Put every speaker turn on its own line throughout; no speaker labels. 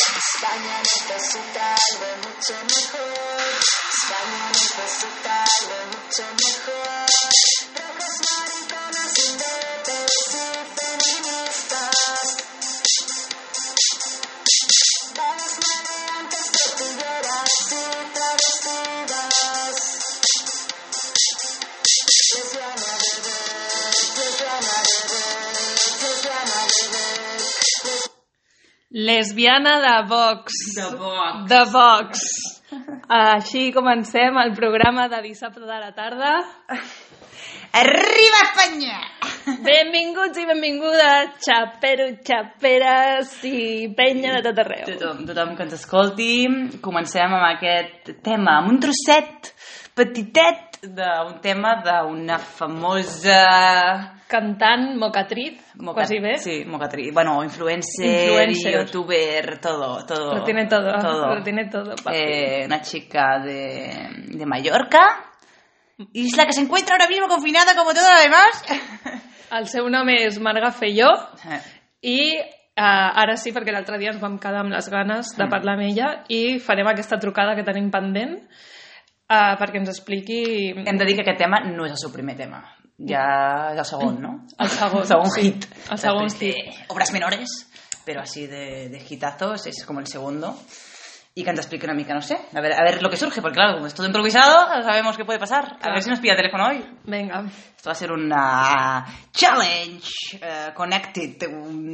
España no fue su tarde mucho mejor. España no fue su tarde mucho mejor. Rojos mariconas independes y feministas. Todos maleantes, tortilleras y travestidas. Lesbiana bebé, lesbiana bebé, lesbiana bebé.
Lesbiana de Vox.
De Vox.
De Vox. Així comencem el programa de dissabte de la tarda.
¡Arriba España!
Benvinguts i benvingudes, xaperos, xaperes i penya de tot arreu.
Tothom, tothom que ens escolti, comencem amb aquest tema, amb un trosset petitet d'un tema d'una famosa...
Cantant, mocatriz,
moca-
quasi bé.
Sí, mocatri. Bueno, influencer,
Influencer.
youtuber, todo, todo.
Lo tiene todo,
todo.
lo tiene todo, papi.
Eh, una chica de, de Mallorca. Isla que se encuentra ahora mismo confinada como todo lo demás.
El seu nom és Marga Felló i eh, ara sí, perquè l'altre dia ens vam quedar amb les ganes
Mm.
de parlar amb ella i farem aquesta trucada que tenim pendent eh, perquè ens expliqui...
Hem de dir que aquest tema no és el seu primer tema. Ja és el segon, no?
El segon,
el segon
sí.
hit.
El segon
Després de
hit.
Obras menores, però així de, de hitazos, és com el segundo. Y que ens explique una mica, no sé, a ver, a ver lo que surge, porque claro, como es todo improvisado, sabemos qué puede pasar. A
Claro.
ver si nos pilla el teléfono hoy.
Vinga.
Esto va a ser una challenge eh, connected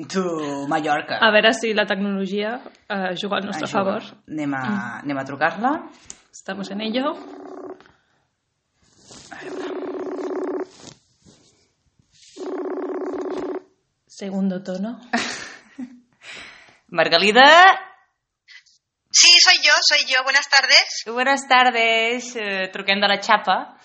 to Mallorca.
A veure si la tecnologia eh, juga al nostre
Això,
favor. Mm.
Anem a, anem a trucar-la.
Estamos en ello. Segundo tono.
Margalida,
Sí, soy yo, soy yo. Buenas tardes.
buenas tardes, eh, truquem de la xapa.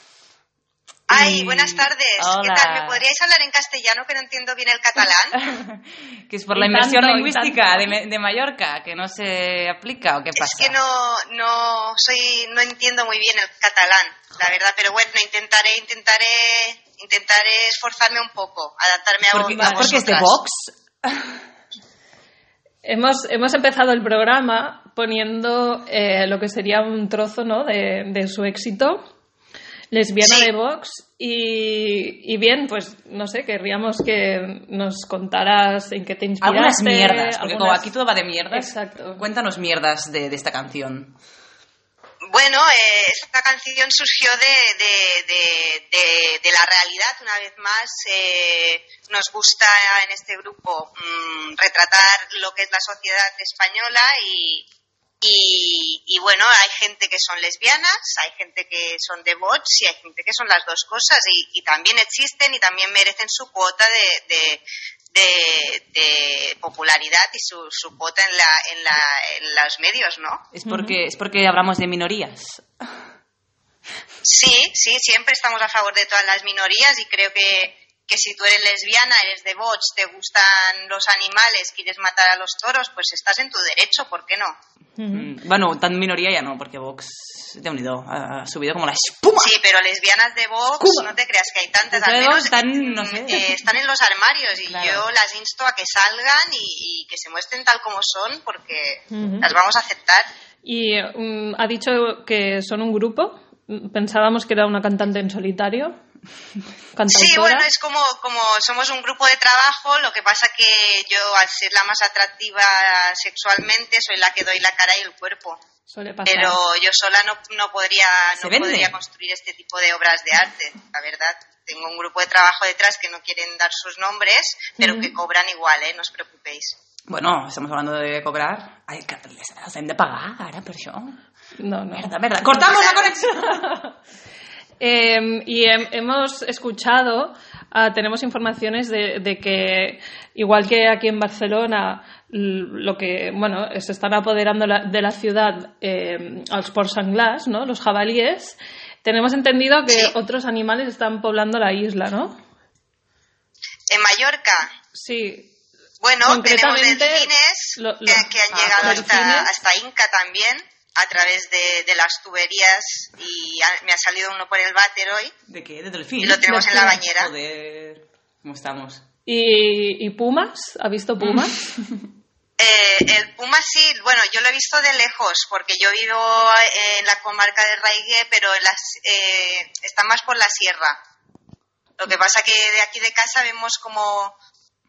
Ay,
Y-
buenas tardes. ¿Qué
Hola.
tal? ¿Me podríais hablar en castellano que no entiendo bien el catalán?
que es por
Y
la inversión
tanto, y
lingüística
tanto.
de, Me- de Mallorca, que no se aplica o qué
Es
pasa.
que no, no soy, no entiendo muy bien el catalán, la verdad. Pero bueno, intentaré, intentaré, intentaré esforzarme un poco, adaptarme a,
porque,
vo- a
¿es porque es de
vosotras.
Vox.
Hemos, hemos empezado el programa poniendo eh, lo que sería un trozo ¿no? de, de su éxito, Lesbiana
Sí.
de Vox, y, y bien, pues no sé, querríamos que nos contaras en qué te inspiraste.
Algunas mierdas, porque como
algunas-
aquí todo va de mierdas.
Exacto.
Cuéntanos mierdas de, de esta canción.
Bueno, eh, esta canción surgió de, de- de- de- de la realidad. Una vez más, eh, nos gusta en este grupo mm, retratar lo que es la sociedad española y, y- y, bueno, hay gente que son lesbianas, hay gente que son de bots y hay gente que son las dos cosas y, y también existen y también merecen su cuota de, de- de- de popularidad y su, su cuota en, la- en la- en los medios, ¿no?
Es porque, es porque hablamos de minorías.
Sí, sí, siempre estamos a favor de todas las minorías y creo que, que si tú eres lesbiana, eres de bots, te gustan los animales, quieres matar a los toros, pues estás en tu derecho, ¿por qué no?
Ujú.
Mm, Bueno, tan minoría ya no, porque Vox de unido ha ha subido como la espuma.
Sí, pero lesbianas de Vox,
Cuba.
no te creas que hay tantas,
Desde
al
luego
menos
están,
mm,
no sé.
eh, están en los armarios y
Claro.
yo las insto a que salgan y, y que se muestren tal como son porque
Ujú.
las vamos a aceptar.
Y mm, ha dicho que son un grupo. Pensábamos que era una cantante en solitario. Cantautora.
Sí, bueno, es como, como somos un grupo de trabajo, lo que pasa que yo al ser la más atractiva sexualmente soy la que doy la cara y el cuerpo.
Suele pasar.
Pero yo sola no, no podría
¿Se
no
vende?
podría construir este tipo de obras de arte, la verdad. Tengo un grupo de trabajo detrás que no quieren dar sus nombres, pero
Ujú.
que cobran igual, ¿eh? No os preocupéis.
Bueno, estamos hablando de cobrar. Hay que les han de pagar ahora, pero yo.
No, no.
Verdad, verdad. Cortamos la conexión.
Eh, y hem- hemos escuchado, ah, tenemos informaciones de, de que, igual que aquí en Barcelona, l- lo que, bueno, se están apoderando la- de la ciudad eh, als porcs anglars, ¿no? Los jabalíes. Tenemos entendido que
Sí.
otros animales están poblando la isla, ¿no?
En Mallorca,
Sí.
bueno, tenemos
Concretamente,
delfines
lo- lo-
que, que han
ah,
llegado hasta,
delfines.
hasta Inca también, a través de, de las tuberías, y ha- me ha salido uno por el váter hoy.
¿De qué? ¿De delfín?
Lo tenemos en la
Delfín.
bañera.
Joder. ¿Cómo estamos?
¿Y, y pumas? ¿Ha visto pumas?
Eh, el puma sí, bueno, yo lo he visto de lejos porque yo vivo eh, en la comarca de Raigue, pero en las, eh, está más por la sierra. Lo que pasa que de aquí de casa vemos como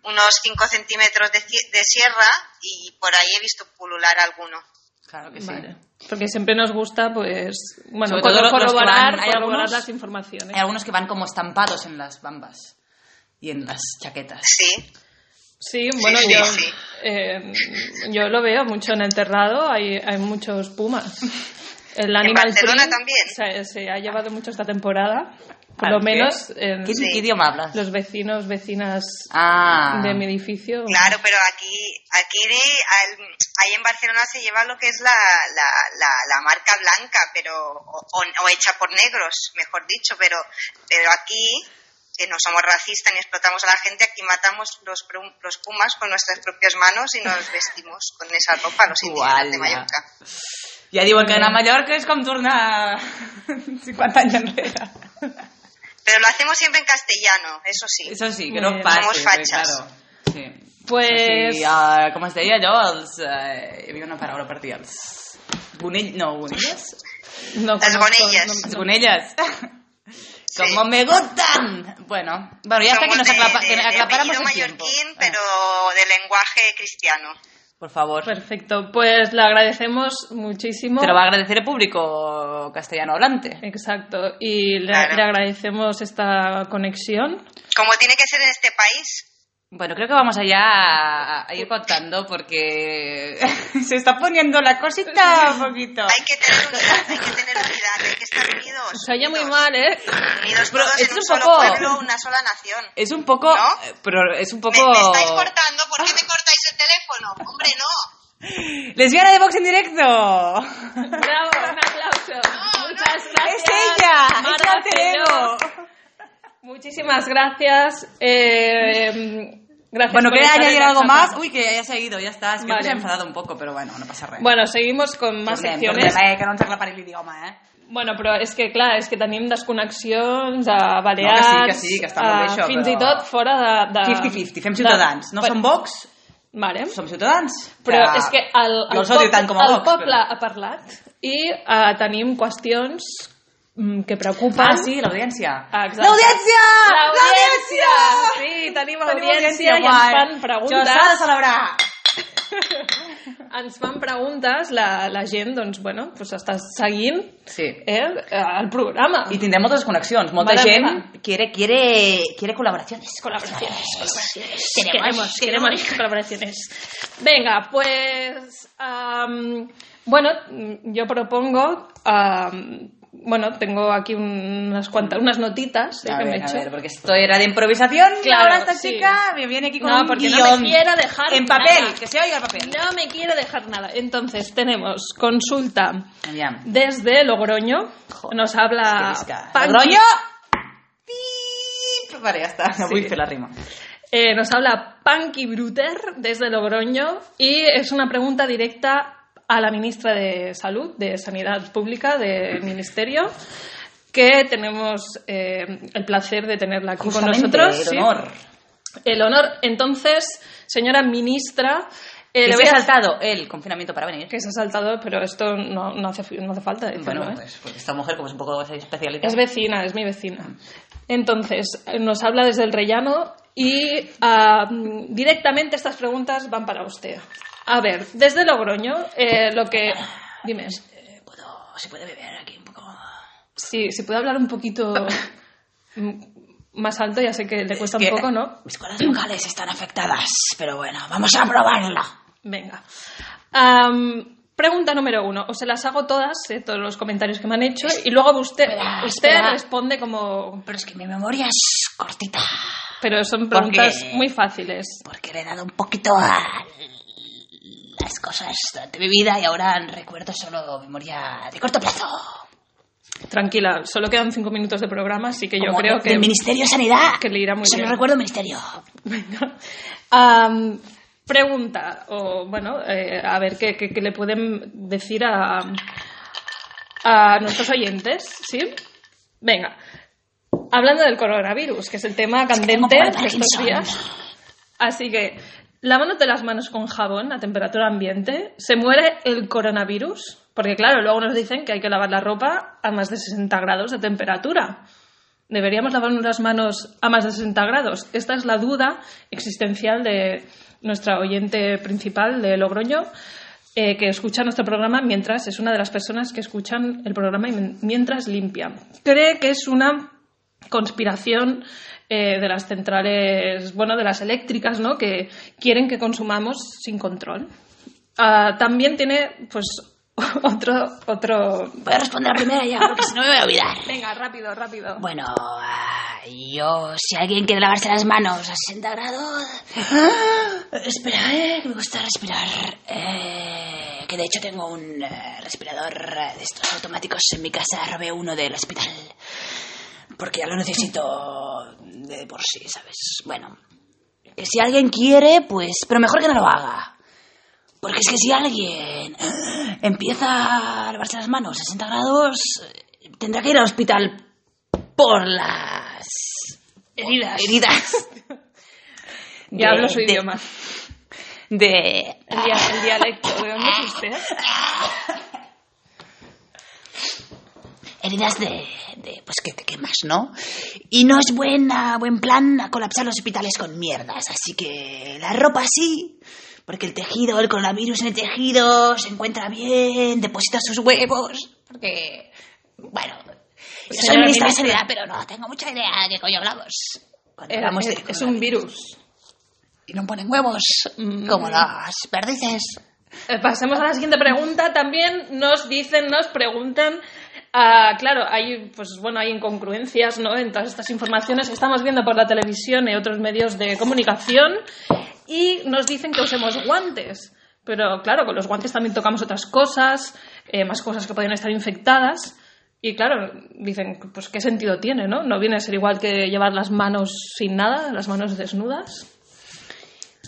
unos 5 centímetros de, ci- de sierra y por ahí he visto pulular alguno.
Claro que
Vale.
sí.
Porque siempre nos gusta, pues, bueno,
Sobre
cor-
todo los- los que
corroborar,
van- hay
corroborar
algunos-
las informaciones.
Hay algunos que van como estampados en las bambas y en las chaquetas.
Sí,
Sí, bueno,
sí,
yo,
sí.
eh, yo lo veo mucho en el terrado, hay, hay muchos pumas. El Animal
Barcelona
Print
también.
Se, se ha llevado mucho esta temporada, por
Ah,
lo
¿qué?
menos en
¿Qué,
Sí.
qué idioma hablas?
los vecinos, vecinas
Ah,
de mi edificio.
claro, pero aquí, aquí de- al- ahí en Barcelona se lleva lo que es la, la, la, la marca blanca, pero o, o- o hecha por negros, mejor dicho, pero, pero aquí que no somos racistas ni explotamos a la gente, aquí matamos los, pru- los pumas con nuestras propias manos y nos vestimos con esa ropa, los indígenas de
Uala.
Mallorca.
ja diuen que anar a Mallorca és com tornar 50 anys enrere.
Pero lo hacemos siempre en castellano, eso sí.
Això sí,
Muy
que no
bien.
passi.
Somos
perquè,
fatxes.
Claro. Sí.
Pues-
Sí, uh, com es deia allò, els, uh, hi havia una paraula per dir els... Bonell... No, bonelles?
No
Las
conozco-
gonillas.
Els bonelles.
Sí.
Como me gustan. Bueno, bueno ya hasta que
Somos
nos
de-
aclapa,
de-
que
de
aclapáramos
apellido
el tiempo.
mallorquín,
Ah,
pero de lenguaje cristiano.
Por favor.
Perfecto, pues le agradecemos muchísimo.
Te lo va a agradecer el público castellano hablante.
Exacto, y le,
Claro.
le agradecemos esta conexión.
Como tiene que ser en este país.
Bueno, creo que vamos allá a, a ir contando porque se está poniendo la cosita un poquito.
Hay que tener unidad, hay que tener unidad, hay que estar unidos.
Se oye muy
unidos.
mal, ¿eh?
Unidos
Pero
todos
es
en
un
un solo
poco-
pueblo, una sola nación.
Es un poco,
¿No?
eh, pero es un
Me,
poco.
me estáis cortando? ¿Por qué me cortáis el teléfono? ¡Hombre, no!
Lesbiana de Vox en directo.
Bravo, un aplauso. Muchas gracias.
Es ella, es
Mara
la Terego.
Cero. Muchísimas gracias. eh, gracias.
Bueno,
por
¿quería
estar en
añadir
la
algo
chapa.
más? Uy, que ya se ha ido, ya está. Es que
Vale.
se ha enfadado un poco, pero bueno, no pasa nada.
Bueno, seguimos con más
Tornem,
secciones.
tornem, eh, que no ens aclaparé l'idioma, eh?
Bueno, però és que, clar, és que tenim desconnexions a Balears...
No, que sí, que sí, que està molt bé,
a-
això,
Fins
però-
i tot fora de... de-
50-50, fem
de-
ciutadans. No
Bueno,
som Vox,
Vale.
som ciutadans.
Però és que el,
jo
el,
els odio
poble-
tant com a
el
Vox,
poble
però-
ha parlat i eh, tenim qüestions mm, que preocupen.
Ah, sí, l'audiència.
Ah, exacte.
L'audiència!
L'audiència! Sí, tenim audiència i ens
guai.
fan
Jo s'ha de
preguntes.
celebrar!
Ens fan preguntes, la, la gent, doncs, bueno, doncs està seguint
Sí.
eh, el programa.
I tindrem moltes connexions. Molta
Mare
gent
meva.
quiere, quiere, quiere colaboraciones.
Colaboraciones, colaboraciones. Queremos, queremos, colaboraciones. Venga, pues. am, bueno, mm, yo propongo. am, bueno, tengo aquí unas cuantas, unas notitas eh,
A
que me he
ver, a
hecho.
ver, porque esto era de improvisación y
Claro,
ahora esta
sí.
chica me viene aquí con
No,
un
porque no
guión.
me quiero dejar
En papel,
nada.
que se oiga el papel.
No me quiero dejar nada. Entonces, tenemos consulta
Aviam.
desde Logroño.
Joder,
Nos
Ah,
habla. Panchi.
Logroño. Pip. Vale, ya está. No
Sí.
voy a hacer la rima.
Eh, nos habla Punky Bruter desde Logroño y es una pregunta directa a la ministra de Salud, de Sanidad Pública del Ministerio, que tenemos eh, el placer de tenerla aquí
Justamente,
con nosotros.
el
sí.
honor.
El honor. Entonces, señora ministra, eh,
Que
le
se
voy
ha
a-
saltado el confinamiento para venir.
que se ha saltado, pero esto no, no hace, no hace falta decirlo.
Bueno,
¿eh?
pues, porque esta mujer como es un poco especialista.
Es vecina, es mi vecina. Entonces, eh, nos habla desde el rellano y ah, mm, directamente estas preguntas van para usted. A ver, desde Logroño, eh, lo que... Dime,
¿Puedo- se puede beber aquí un poco.
si, si puedo hablar un poquito mm, más alto, ya sé que le cuesta
que-
un poco, ¿no?
Mis cuerdas vocales están afectadas, pero bueno, vamos a probarlo.
Venga. Am, pregunta número uno. O se las hago todas, eh, todos los comentarios que me han hecho, y luego usted,
Espera,
usted
espera.
responde como...
Pero es que mi memoria es cortita,
Pero son
¿Por qué?
preguntas muy fáciles.
porque le he dado un poquito a las cosas de mi vida y ahora recuerdo solo memoria de corto plazo.
Tranquila, solo quedan cinco minutos de programa, así que yo
Como
creo
de-
que...
Del Ministerio de Sanidad.
que le irá muy
Solo
bien.
recuerdo Ministerio.
Venga. Am, pregunta, o bueno, eh, a ver qué, qué- qué le pueden decir a, a nuestros oyentes, ¿sí? Venga, hablando del coronavirus, que es el tema
tengo
candente
por el
de estos
Parkinson.
días. Así que, Lávanos de las manos con jabón a temperatura ambiente. Se muere el coronavirus. Porque claro, luego nos dicen que hay que lavar la ropa a más de 60 grados de temperatura. ¿Deberíamos lavarnos las manos a más de 60 grados? Esta es la duda existencial de nuestra oyente principal de Logroño, eh, que escucha nuestro programa mientras es una de las personas que escuchan el programa y men- mientras limpia. Cree que es una conspiración eh, de las centrales, bueno, de las eléctricas, ¿no? Que quieren que consumamos sin control. Ah, también tiene, pues, otro, otro.
Voy a responder la primera ya, porque si no me voy a olvidar.
Venga, rápido, rápido.
Bueno, ah, yo, si alguien quiere lavarse las manos a 60 grados... Ah, Espera, eh, que me gusta respirar. Eh, que de hecho tengo un eh, respirador eh, de estos automáticos en mi casa. Robé uno del hospital. Porque ya lo necesito de por sí, ¿sabes? Bueno, que si alguien quiere, pues... Pero mejor que no lo haga. Porque es que si alguien eh, empieza a lavarse las manos a 60 grados, eh, tendrá que ir al hospital por las heridas, heridas
Ya hablo su
de- de-
idioma.
de... ah,
El, dia- el dialecto. ¿De dónde es usted?
Heridas de, de, Pues que te quemas, ¿no? Y no es buena, buen plan a colapsar los hospitales con mierdas. Así que la ropa sí, porque el tejido, el coronavirus en el tejido, se encuentra bien, deposita sus huevos, porque... Bueno, yo soy
Señora
ministra
ministra.
de Sanidad, pero no tengo mucha idea de qué coño hablamos. Cuando
Eh,
hablamos de
es- es un virus.
y no ponen huevos,
Mm.
como las perdices.
Eh, Pasemos a la siguiente pregunta. También nos dicen, nos preguntan. ah, claro, hay, pues, bueno, hay incongruencias ¿no? en todas estas informaciones que estamos viendo por la televisión y otros medios de comunicación. Y nos dicen que usemos guantes. Pero claro, con los guantes también tocamos otras cosas, eh, más cosas que pueden estar infectadas. Y claro, dicen, pues qué sentido tiene, ¿no? No viene a ser igual que llevar las manos sin nada, las manos desnudas.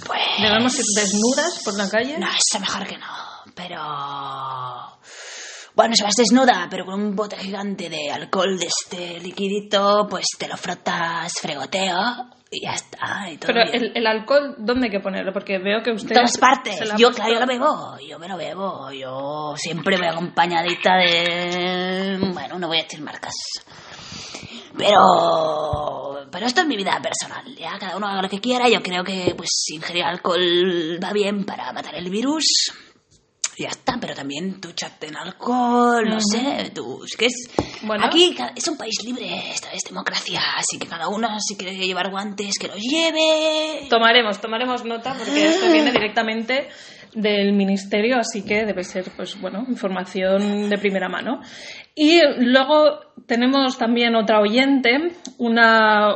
Pues...
Debemos ir desnudas por la calle.
No, eso mejor que no, pero... Bueno, si vas desnuda, pero con un bote gigante de alcohol de este liquidito, pues te lo frotas, fregoteo y ya está. Y todo
Pero
bien.
el, el alcohol, ¿dónde hay que ponerlo? Porque veo que
En
usted.
todas partes.
se lo ha
Yo,
puesto-
claro, yo lo bebo. Yo me lo bebo. Yo siempre voy acompañadita de... Bueno, no voy a decir marcas. Pero... Pero esto es mi vida personal. Ya cada uno haga lo que quiera. Yo creo que pues ingerir alcohol va bien para matar el virus. Y Ya está, pero también duchate en alcohol, no sé, tú, es que es...
Bueno.
Aquí ca- es un país libre, esta es democracia, así que cada uno si quiere llevar guantes, que los lleve.
Tomaremos, tomaremos nota porque esto viene directamente del ministerio, así que debe ser, pues bueno, información de primera mano. Y luego tenemos también otra oyente, una.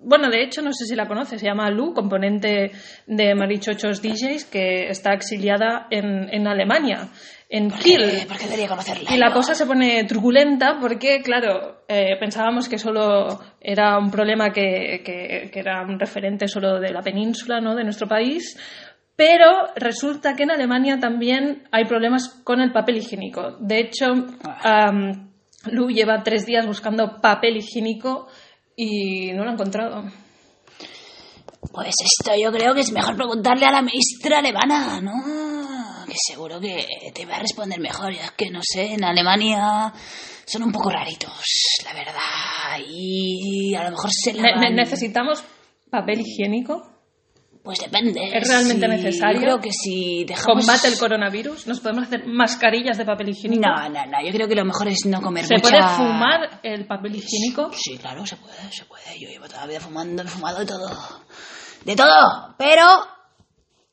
Bueno, de hecho, no sé si la conoce, se llama Lu, componente de Marichochos DJs, que está exiliada en, en Alemania, en Kiel.
Eh, ¿Por qué debería conocerla?
Y la
Yo-
cosa se pone truculenta porque, claro, eh, pensábamos que solo era un problema que, que- que era un referente solo de la península, ¿no? De nuestro país. Pero resulta que en Alemania también hay problemas con el papel higiénico. De hecho, am, Lu lleva tres días buscando papel higiénico y no lo ha encontrado.
Pues esto yo creo que es mejor preguntarle a la ministra alemana, ¿no? Que seguro que te va a responder mejor, ya que no sé, en Alemania son un poco raritos, la verdad. Y a lo mejor se
Ne-
lavan...
ne- necesitamos papel higiénico.
Pues depende.
¿Es realmente
Si-
necesario?
Yo creo que si dejamos...
Combate el coronavirus. Nos podemos hacer mascarillas de papel higiénico.
No, no, no, yo creo que lo mejor es no comer
¿Se
mucha-
puede fumar el papel higiénico?
Sí, claro, se puede, se puede. Yo llevo toda la vida fumando, he fumado de todo. De todo, pero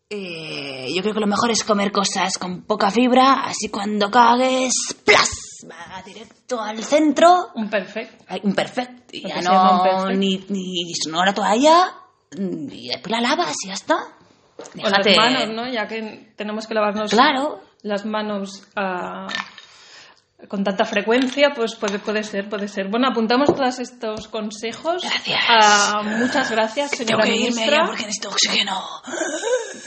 eh, yo creo que lo mejor es comer cosas con poca fibra, así cuando cagues, ¡plas! Va directo al centro.
Un perfecto.
Ay, Un perfect. Y
Lo
ya
que se llama un
no,
perfect.
ni, ni sonora toalla, mm, y después la lavas y ya está.
O las
Déjate-
manos, ¿no? Ya que tenemos que lavarnos
Claro.
las manos ah, con tanta frecuencia, pues puede, puede ser, puede ser. Bueno, apuntamos todos estos consejos.
Gracias.
Ah, muchas gracias,
Tengo
señora
que irme
ministra.
ya porque necesito oxígeno.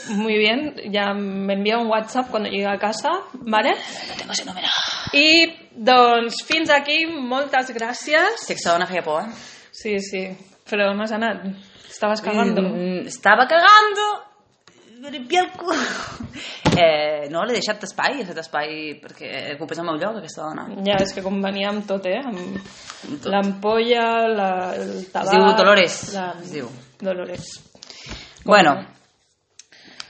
Muy bien, ya me envía un WhatsApp cuando llegue a casa, ¿vale?
No tengo ese número.
I doncs fins aquí, moltes gràcies.
Sexona Japó, ¿eh?
Eh,
Sí, sí, però on has anat? Estaves cagando.
Mm, estaba cagando.
limpiar el cul. Eh, no, l'he deixat espai, he deixat espai perquè ocupés el meu lloc, aquesta dona.
Ja, és que convenia amb tot, eh? Amb
Amb tot.
l'ampolla, la, el tabac...
diu Dolores,
La...
es diu.
Dolores.
Bueno,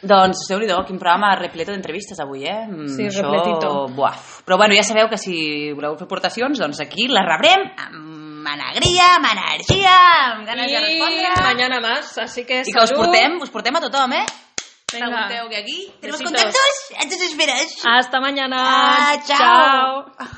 doncs, déu nhi quin programa repleto d'entrevistes avui, eh? Mm,
Sí, repletito.
Buah. Però bueno, ja sabeu que si voleu fer aportacions, doncs aquí les rebrem amb alegria, amb energia, amb ganes de respondre.
I mañana más, así que
I que us
salud.
portem, us portem a tothom, eh?
Vinga.
Pregunteu que aquí tenemos
Besitos.
contactos, entonces verás.
Hasta mañana.
Ah, chao.
chao.